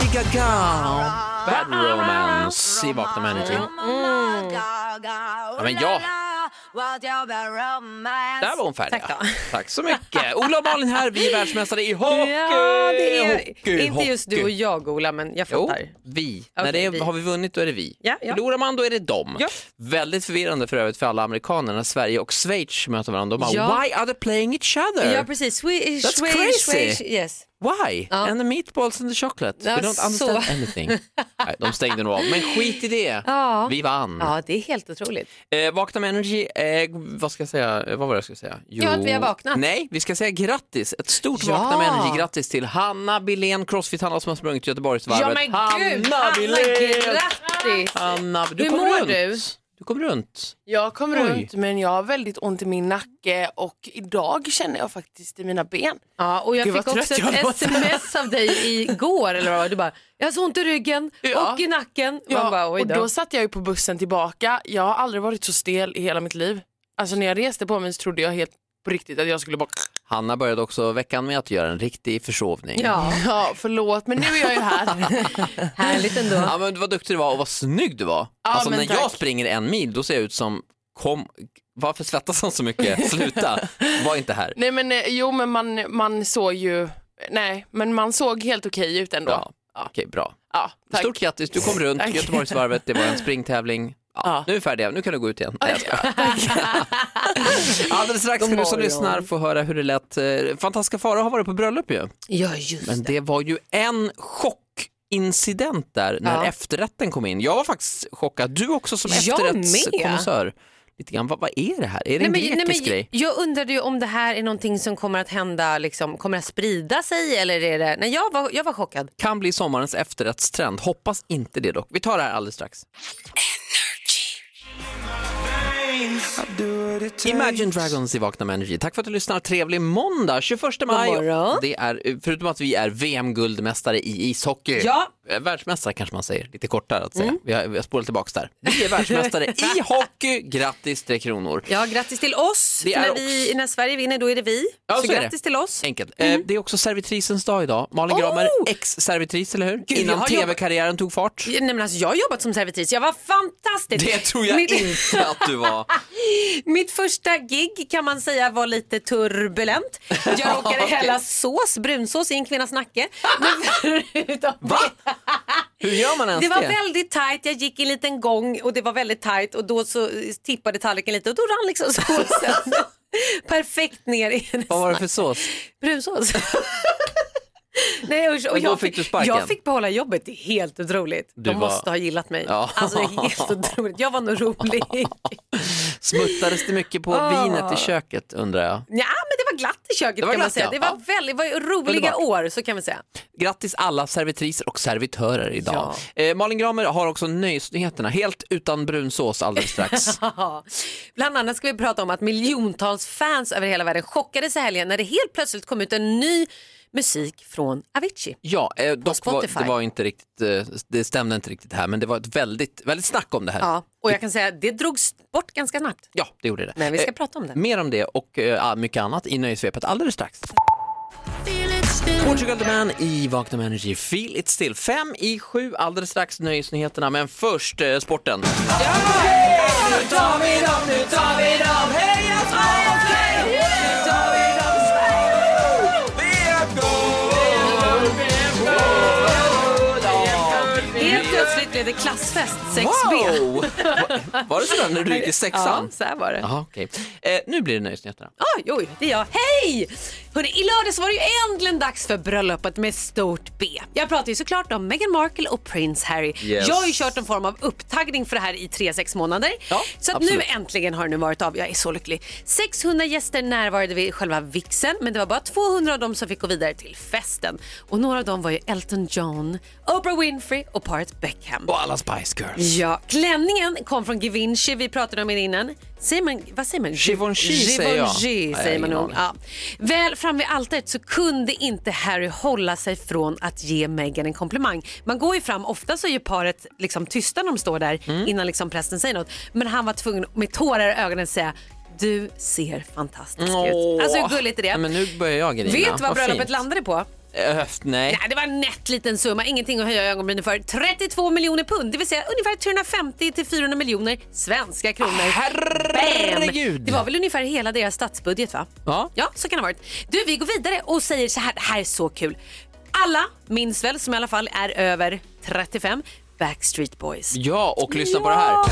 Gaga! Bad Romance i Vakna med Energy. Mm. Ja, men ja. Där var hon färdig. Tack ja. då. Tack så mycket. Ola och Malin här, vi är världsmästare i hockey! Ja, det är hockey, inte just du hockey. och jag Ola, men jag Jo, fattar. vi. När Okej, det är, vi. Har vi vunnit då är det vi. Ja, ja. Förlorar man då är det dem. Ja. Väldigt förvirrande för övrigt för alla amerikaner när Sverige och Schweiz möter varandra. De bara, Ja. why are they playing each other? Ja, precis. Swedish, Eh, That's Swedish, crazy. Swedish, yes. Why? Ja. And the meatballs and the chocolate. Ja, We don't understand så. anything. Nej, de stängde nog av, men skit i det. Ja. Vi vann. Ja, det är helt otroligt. Eh, vakna med Energy, eh, vad ska jag säga? Eh, Vad var det jag skulle säga? Jo, att vi har vaknat. Nej, vi ska säga grattis. Ett stort Ja. Vakna med Energy-grattis till Hanna Billén, Crossfit-Hanna som har sprungit Göteborgsvarvet. Ja, men gud! Hanna Billén! grattis! Hanna, du Hur kom mår runt. du? Du kom runt. Jag kommer Oj. runt men jag har väldigt ont i min nacke och idag känner jag faktiskt i mina ben. Ja, och jag Gud, vad fick också trött ett jag låter. sms av dig igår eller vad det var. Du bara, jag har så ont i ryggen Ja. och i nacken. Man Ja, bara, oj och då. då satt jag ju på bussen tillbaka. Jag har aldrig varit så stel i hela mitt liv. Alltså när jag reste på mig så trodde jag helt på riktigt att jag skulle bara... Hanna började också veckan med att göra en riktig försovning. Ja, Ja, förlåt men nu är jag ju här. härligt ändå. Ja, men vad duktig du var och vad snygg du var. alltså men när tack. jag springer en mil då ser jag ut som, kom, varför svettas han så mycket? Sluta, var inte här. nej men eh, jo men man, man såg ju... Nej men man såg helt okej ut ändå. Bra. Ja, Okej, bra. tack. Stort grattis, du kom runt Tack. Göteborgsvarvet, det var en springtävling. Ja, Ja. Nu är vi färdiga, nu kan du gå ut igen. Nej, jag skojar. Alldeles strax ska du som morgon. lyssnar få höra hur det lät. Eh, Fantastiska Farao har varit på bröllop ju. Ja, just Men det. det var ju en chockincident där när Ja. efterrätten kom in. Jag var faktiskt chockad, du också som Jag efterrättskonnässör. Lite grann, vad, vad är det här? Är det en grekisk grej? jag undrade ju om det här är någonting som kommer att hända, liksom, kommer att sprida sig eller är det... Nej, jag var, jag var chockad. Kan bli sommarens efterrättstrend, hoppas inte det dock. Vi tar det här alldeles strax. Imagine Dragons i Vakna med Energy. Tack för att du lyssnar. Trevlig måndag 21 maj. morgon. Det är, förutom att vi är VM-guldmästare i ishockey. Ja. Mm. Eh, Världsmästare kanske man säger, lite kortare att säga. Vi, har, vi har spolat tillbaka där. Vi är världsmästare i hockey. Grattis Tre Kronor. Ja, grattis till oss. Det För är när, vi, när Sverige vinner, då är det vi. Ja, så så är det. grattis till oss. Enkelt. Eh, det är också servitrisens dag idag. Malin Mm. Oh! Gramer, ex-servitris, eller hur? jag Innan har tv-karriären tog fart. Nej, men alltså, jag har jobbat som servitris, jag var fantastisk. Det tror jag mitt, inte att du var. mitt första gig kan man säga var lite turbulent. Jag råkade hälla sås, brunsås i en kvinnas nacke. Men förutom Va? Hur gör man ens Det det? var väldigt tajt, jag gick i en liten gång och det var väldigt tajt och då så tippade tallriken lite och då rann liksom såsen perfekt ner i hennes Vad var det för sås? brunsås. Nej, usch, och Men då jag, fick du sparken. jag fick behålla jobbet, det är helt otroligt. Du De var- måste ha gillat mig. Ja. Alltså det är helt otroligt, jag var nog rolig. Smuttades det mycket på Ah. vinet i köket undrar jag? Ja, men det var glatt i köket Det var kan man glatt, säga. ja. Det var Ja. väldigt, var ju roliga Underbart. år så kan vi säga. Grattis alla servitriser och servitörer idag. Eh, Malin Gramer har också nöjesnyheterna helt utan brunsås alldeles strax. Ja. Bland annat ska vi prata om att miljontals fans över hela världen chockades i helgen när det helt plötsligt kom ut en ny musik från Avicii. ja, eh, dock var, Spotify. det var inte riktigt, eh, det stämde inte riktigt här men det var ett väldigt, väldigt snack om det här. Ja, Ja, och jag kan säga att det drogs bort ganska snabbt. det gjorde det. Men vi ska Eh, prata om det. Mer om det och eh, mycket annat i nöjesvepet alldeles strax. Portugal the Man i Vakna med Energy, Feel It Still. Fem i sju alldeles strax nöjesnyheterna, men först eh, sporten. Helt plötsligt blev det klassfest 6B. Wow! Va- Var det sådär när du gick i Ja, sexan? så här var det. Jaha, okej. Eh, nu blir det nöjesnyheterna. Oj, oj, det är jag. Hej! Hörrni, I lördags var det ju äntligen dags för bröllopet med stort B. Jag pratar ju såklart om Meghan Markle och prins Harry. Yes. Jag har ju kört en form av upptaggning för det här i 3-6 månader. Ja, så att nu absolut. äntligen har det nu varit av. Jag är så lycklig. 600 gäster närvarade vid själva vixen men det var bara 200 av dem som fick gå vidare till festen. Och några av dem var ju Elton John, Oprah Winfrey och Parth Beckham. Och alla Spice Girls. Ja, klänningen kom från Givenchy, vi pratade om det innan. Säger man, vad säger man? Givenchy säger jag. Givenchy Nej, säger jag har man nog. ingen Ja. Väl fram vid altaret så kunde inte Harry hålla sig från att ge Meghan en komplimang. Man går ju fram, ofta så är ju paret liksom tysta när de står där Mm. innan liksom prästen säger något. Men han var tvungen med tårar i ögonen säga du ser fantastisk ut. Åh. Alltså hur gulligt är det? Men nu börjar jag grina. Vet du vad bröllopet fint. Eh, landade på? Höft, nej. Nej, det var en nätt liten summa, ingenting att höja ögonbrynen för. 32 miljoner pund, det vill säga ungefär 350 till 400 miljoner svenska kronor. Herregud! Bam! Det var väl ungefär hela deras statsbudget va? Ja. Ja, så kan det ha varit. Du, vi går vidare och säger så här, det här är så kul. Alla minns väl, som i alla fall är över 35, Backstreet Boys. Ja, och lyssna på det här.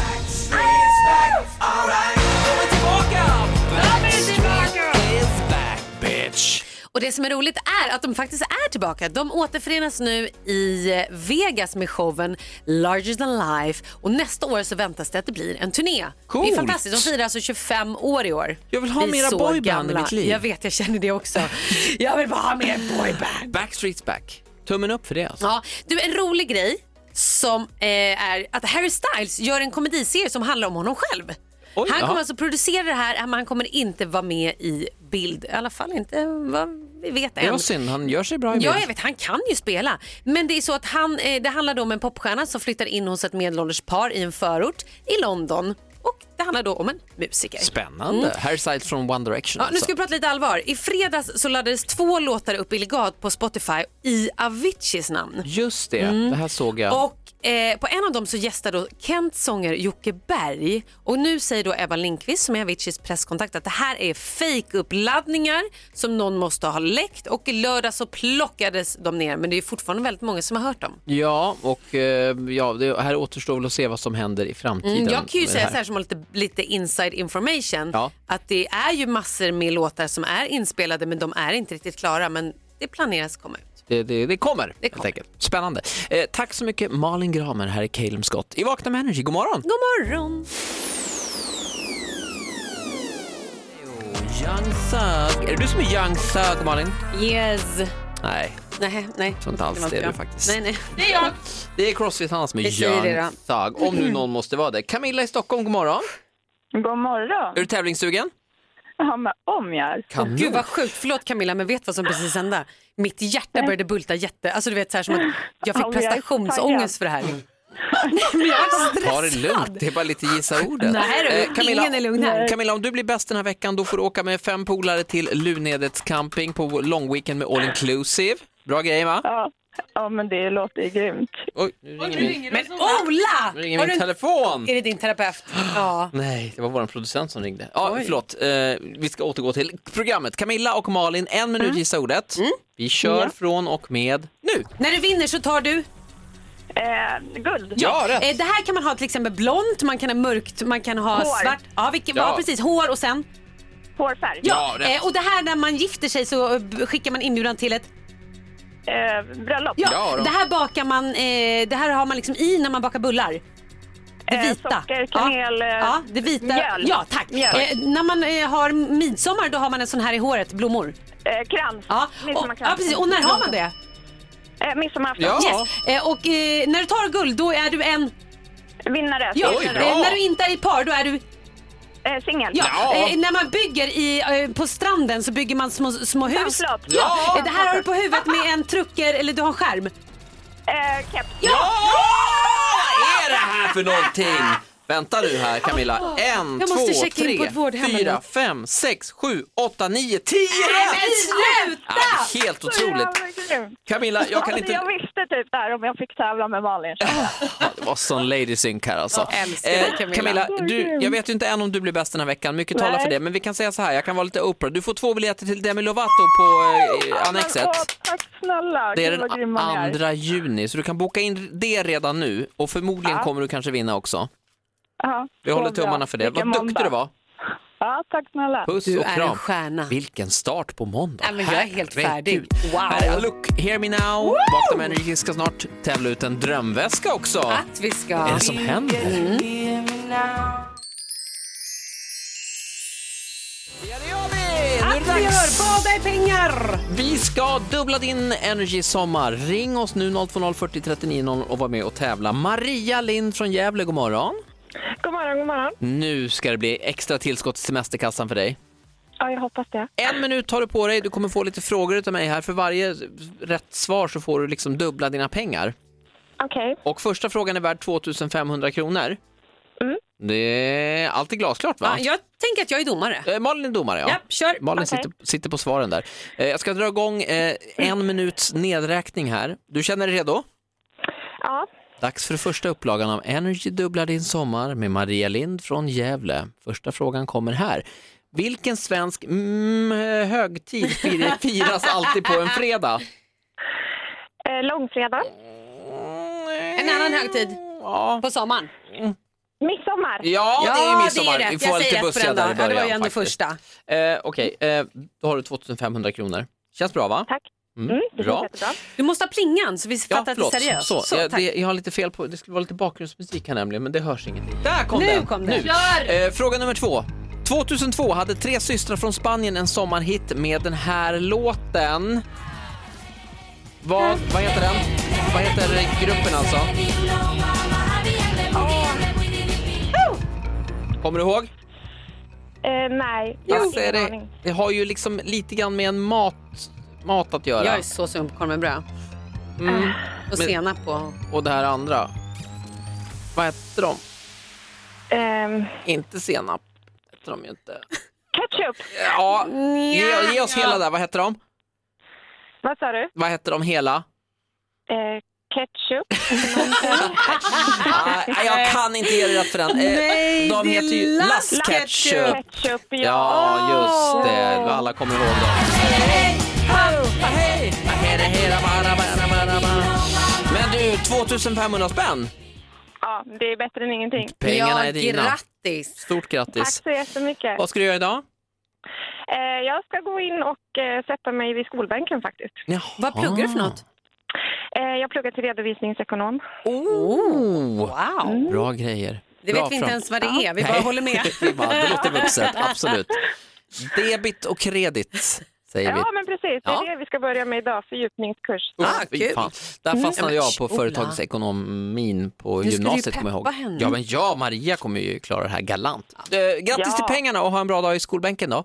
Bitch. Och det som är roligt är att de faktiskt är tillbaka. De återförenas nu i eh, Vegas med showen Larger than life och nästa år så väntas det att det blir en turné. Det Coolt. är fantastiskt. De firar alltså 25 år i år. Jag vill ha Vi är mera så boyband i gamla. mitt liv. Jag vet, jag känner det också. Jag vill bara ha mer boyband. Backstreet's back. Tummen upp för det alltså. Ja, du en rolig grej som eh, är att Harry Styles gör en komediserie som handlar om honom själv. Oj, han jaha. kommer alltså producera det här men han kommer inte vara med i bild. I alla fall inte vad vi vet än. Det var synd, han gör sig bra i bild. Ja, jag vet. Han kan ju spela. Men det är så att han, eh, det handlar då om en popstjärna som flyttar in hos ett medelålders par i en förort i London. Och det handlar då om en musiker. Spännande. Harry Styles från One Direction Mm. Ja, nu alltså. ska vi prata lite allvar. I fredags så laddades två låtar upp illegalt på Spotify i Aviciis namn. Just det, det här såg jag. Mm. Och eh, på en av dem så gästar då Kents sångare Jocke Berg. Och nu säger då Ebba Lindqvist som är Aviciis presskontakt att det här är fejkuppladdningar som någon måste ha läckt och i lördag så plockades de ner men det är fortfarande väldigt många som har hört dem. Ja, och eh, ja, det här återstår väl att se vad som händer i framtiden. Mm, jag kan ju med det säga så här som har lite, lite inside information Ja. att det är ju massor med låtar som är inspelade men de är inte riktigt klara men det planeras komma ut. Det, det, det kommer, Det helt kommer. enkelt. Spännande. Eh, tack så mycket Malin Gramer, här är Calum Scott i Vakna med Energy. God morgon! God morgon! Young Thug. Är det du som är Young Thug, Malin? Yes. Nej, Nej, nej. tror inte alls var det inte är du jag. faktiskt. Nej, nej. Det är jag. Det är Crossfit Hanna som är Vi säger det Young Thug, om nu någon måste vara det. Camilla i Stockholm, god morgon. God morgon! Är du tävlingssugen? Ja, men om jag är. Kanon. Gud vad sjukt, förlåt Camilla men vet vad som precis hände? Mitt hjärta började bulta jätte, alltså du vet så här som att jag Ja, fick men jag är prestationsångest för det här. Nej, men jag är Ta det lugnt, stressad. det är bara lite gissa ordet. Nej, du, ingen är lugn här. Camilla, om du blir bäst den här veckan då får du åka med fem polare till Lunedets camping på vår långweekend med all inclusive. Bra grejer va? Ja, ja men det låter ju grymt. Oj, nu ringer min, Men Ola! nu ringer Har min du- telefon! Är det din terapeut? Ja. Nej, det var vår producent som ringde. Ja, Oj. förlåt. Eh, vi ska återgå till programmet. Camilla och Malin, en minut Mm. gissa ordet. Vi kör från och med nu. När du vinner så tar du? Eh, guld! Ja, rätt. Eh, Det här kan man ha till exempel blont, man kan ha mörkt, man kan ha Hår. svart. Ja, vilken, Ja. ja. precis. Hår och sen? Hårfärg! Ja, rätt. Eh, och det här när man gifter sig så eh, b- skickar man inbjudan till ett... Eh, bröllop! Ja, Ja, då. det här bakar man, eh, det här har man liksom i när man bakar bullar. Det Eh, vita. socker, kanel, ja. eh, ja, det vita. mjöl. Ja, tack. Mjöl. Eh, när man eh, har midsommar då har man en sån här i håret, blommor. Eh, krans! Ja, och, Midsommarkrans. ja precis. Och när har man det? Eh, midsommarafton! Ja. Yes. Eh, och eh, när du tar guld då är du en... Vinnare! Ja. Oj, bra. eh, när du inte är i par då är du... Eh, Singel! Ja. Ja. Eh, när man bygger i, eh, på stranden så bygger man små, små hus. Sandslott. Ja. Ja. Eh, det här har du på huvudet med en trucker eller du har en skärm. Eh, keps! Ah! Vad är det här för någonting? Vänta nu här Camilla. En, Ah. Jag två, måste checka in på tre, ett vårdhem fyra, eller? fem, sex, sju, åtta, nio, tio Men rätt! sluta! Ja, det är helt otroligt. Camilla, jag Jag, kan alltså, inte... jag visste typ där om jag fick tävla med Malin. Ja, det var sån lady sync här alltså. Jag älskar dig, Camilla. du, jag vet ju inte än om du blir bäst den här veckan, mycket talar Nej. för det. Men vi kan säga så här, jag kan vara lite opera. Du får två biljetter till Demi Lovato på eh, Men, Annexet. åh, tack snälla! Det är Gud, vad grym den man är. 2 juni, så du kan boka in det redan nu och förmodligen kommer du kanske vinna också. Ja, Vi så håller bra. tummarna för det. Vilken Vad duktig måndag. du var. Ja, tack snälla! Puss Du och är kram. en stjärna. Vilken start på måndag. Nej, men jag är helt färdig. Herregud. Wow. Här är Look, Hear Me Now. Vakna med Energy ska snart tävla ut en drömväska också. Att vi ska. Vad är det som händer? Mm. Ja, det gör vi! Nu är det Att vi dags. gör. Bada i pengar! Vi ska dubbla din Energy Sommar. Ring oss nu 020 40 39 0 och var med och tävla. Maria Lind från Gävle, god morgon. God morgon, god morgon! Nu ska det bli extra tillskott till semesterkassan för dig. Ja, jag hoppas det. En minut har du på dig. Du kommer få lite frågor utav mig här. För varje rätt svar så får du liksom dubbla dina pengar. Okej. Och första frågan är värd 2500 kronor. Mm. Det är alltid glasklart va? Ja, jag tänker att jag är domare. Eh, Malin är domare ja. Ja, kör. Malin Okej. sitter, sitter på svaren där. Eh, jag ska dra igång eh, en minuts nedräkning här. Du känner dig redo? Ja. Dags för första upplagan av Energy dubblar din sommar med Maria Lind från Gävle. Första frågan kommer här. Vilken svensk mm, högtid fir- firas alltid på en fredag? Eh, långfredag. En annan högtid Ja, på sommaren. Midsommar. ja det är ju midsommar. det är Vi rätt. får vara Jag lite säger rätt på bussiga den där i dagen. Ja, början. det var ju ändå faktiskt. första. Eh, Okej, eh, då har du 2500 kronor. Känns bra va? Tack. Mm, Mm, det bra. känns jättebra. Du måste ha plingan så vi fattar att det är förlåt. seriöst. Så, Så, jag, tack. det, jag har lite fel på, det skulle vara lite bakgrundsmusik här nämligen, men det hörs ingenting. Där kom Nu den! kom den. Eh, fråga nummer två. 2002 hade tre systrar från Spanien en sommarhit med den här låten. Vad, vad heter den? Vad heter gruppen alltså? Kommer du ihåg? Eh, nej. Alltså, är ingen det, aning. det har ju liksom lite grann med en mat, mat att göra. Jag är så sugen på korv med bröd. Mm. Och Men- senap på. Och det här andra. Vad hette de? Ehm, Inte senap. Hette de ju inte. ketchup. Ja, ge, ge oss hela där. Vad hette de? Vad sa du? Vad hette de hela? Eh, ketchup. Nej, jag kan inte ge dig rätt för den. Eh, de det är heter ju Lass Lass Ketchup. Ketchup. Ketchup, ja. Ja, just det. Vad alla kommer ihåg dem. Men du, 2500 spänn. ja. Det är bättre än ingenting. Pengarna ja, är dina. grattis. Stort Tack grattis. så jättemycket. Vad ska du göra idag? Eh, jag ska gå in och eh, sätta mig vid skolbänken faktiskt. Jaha. Vad pluggar Ah. du för något? Eh, jag pluggar till redovisningsekonom. Oh, Wow. bra grejer. Det Bra vet vi inte fram- ens vad det är. Vi bara Nej. håller med. Vi bara, det låter vuxet, absolut. Debit och kredit, säger vi. Ja, men precis. Det är Ja. det vi ska börja med idag, fördjupningskurs. Usch, Ah, fy kul. fan. Där fastnade men jag på skola. företagsekonomin på ska du ju gymnasiet kommer jag peppa ihåg. henne. Ja men jag och Maria kommer ju klara det här galant. Eh, grattis Ja. till pengarna och ha en bra dag i skolbänken då.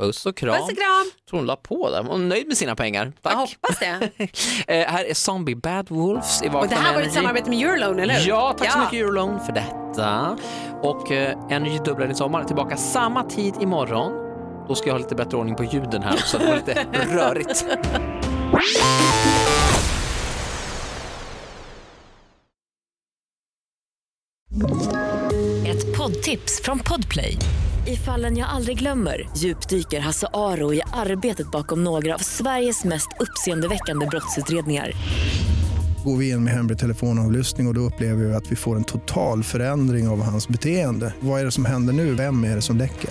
Puss och kram. Puss och kram. Tror hon la på där. Hon är nöjd med sina pengar. Jag Tack. hoppas det. Eh, här är Zombie Bad Wolves i Vakna Och det här med var ett Energy. samarbete med Eurolone, eller hur? Ja, tack så mycket Eurolone för detta. Och eh, Energy dubblar i sommar tillbaka samma tid imorgon. Då ska jag ha lite bättre ordning på ljuden här så det var lite rörigt. Ett poddtips från Podplay. I fallen jag aldrig glömmer djupdyker Hasse Aro i arbetet bakom några av Sveriges mest uppseendeväckande brottsutredningar. går vi in med hemlig telefonavlyssning och, och då upplever vi att vi får en total förändring av hans beteende. Vad är det som händer nu? Vem är det som läcker?